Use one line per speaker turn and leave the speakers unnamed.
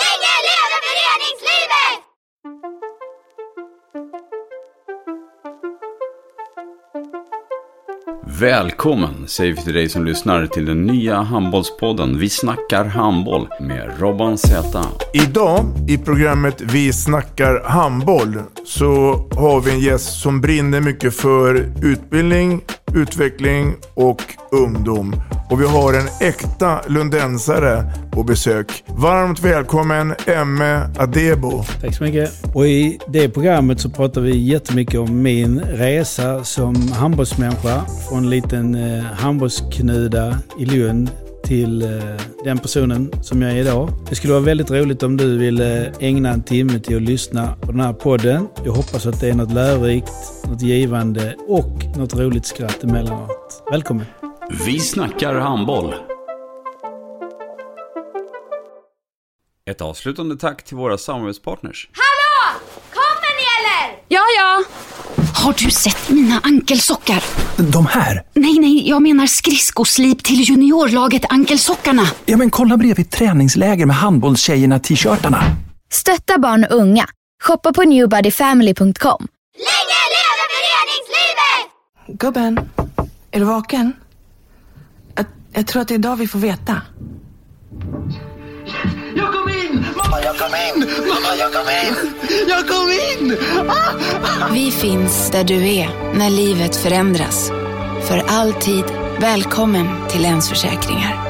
Länge leve föreningslivet!
Välkommen säger vi till dig som lyssnar till den nya handbollspodden Vi snackar handboll med Robban Z.
Idag i programmet Vi snackar handboll så har vi en gäst som brinner mycket för utbildning, utveckling och ungdom. Och vi har en äkta lundensare på besök. Varmt välkommen Emme Adebo.
Tack så mycket. Och i det programmet så pratar vi jättemycket om min resa som handbollsmänniska. Från en liten eh, handbollsknuda i Lund till eh, den personen som jag är idag. Det skulle vara väldigt roligt om du ville ägna en timme till att lyssna på den här podden. Jag hoppas att det är något lärorikt, något givande och något roligt skratt emellanåt. Välkommen!
Vi snackar handboll. Ett avslutande tack till våra samarbetspartners.
Hallå! Kommer ni eller?
Ja, ja. Har du sett mina ankelsockar?
De här?
Nej, nej, jag menar skridskoslip till juniorlaget Ankelsockarna.
Ja, men kolla bredvid träningsläger med handbollstjejerna-t-shirtarna.
Stötta barn och unga. Shoppa på newbodyfamily.com.
Länge leve föreningslivet!
Gubben, är du vaken? Jag, jag tror att det är idag vi får veta.
Jag kom in! Mamma, jag kom in! Mamma, jag kom in! Jag kom in! Ah!
Vi finns där du är när livet förändras. För alltid välkommen till Länsförsäkringar.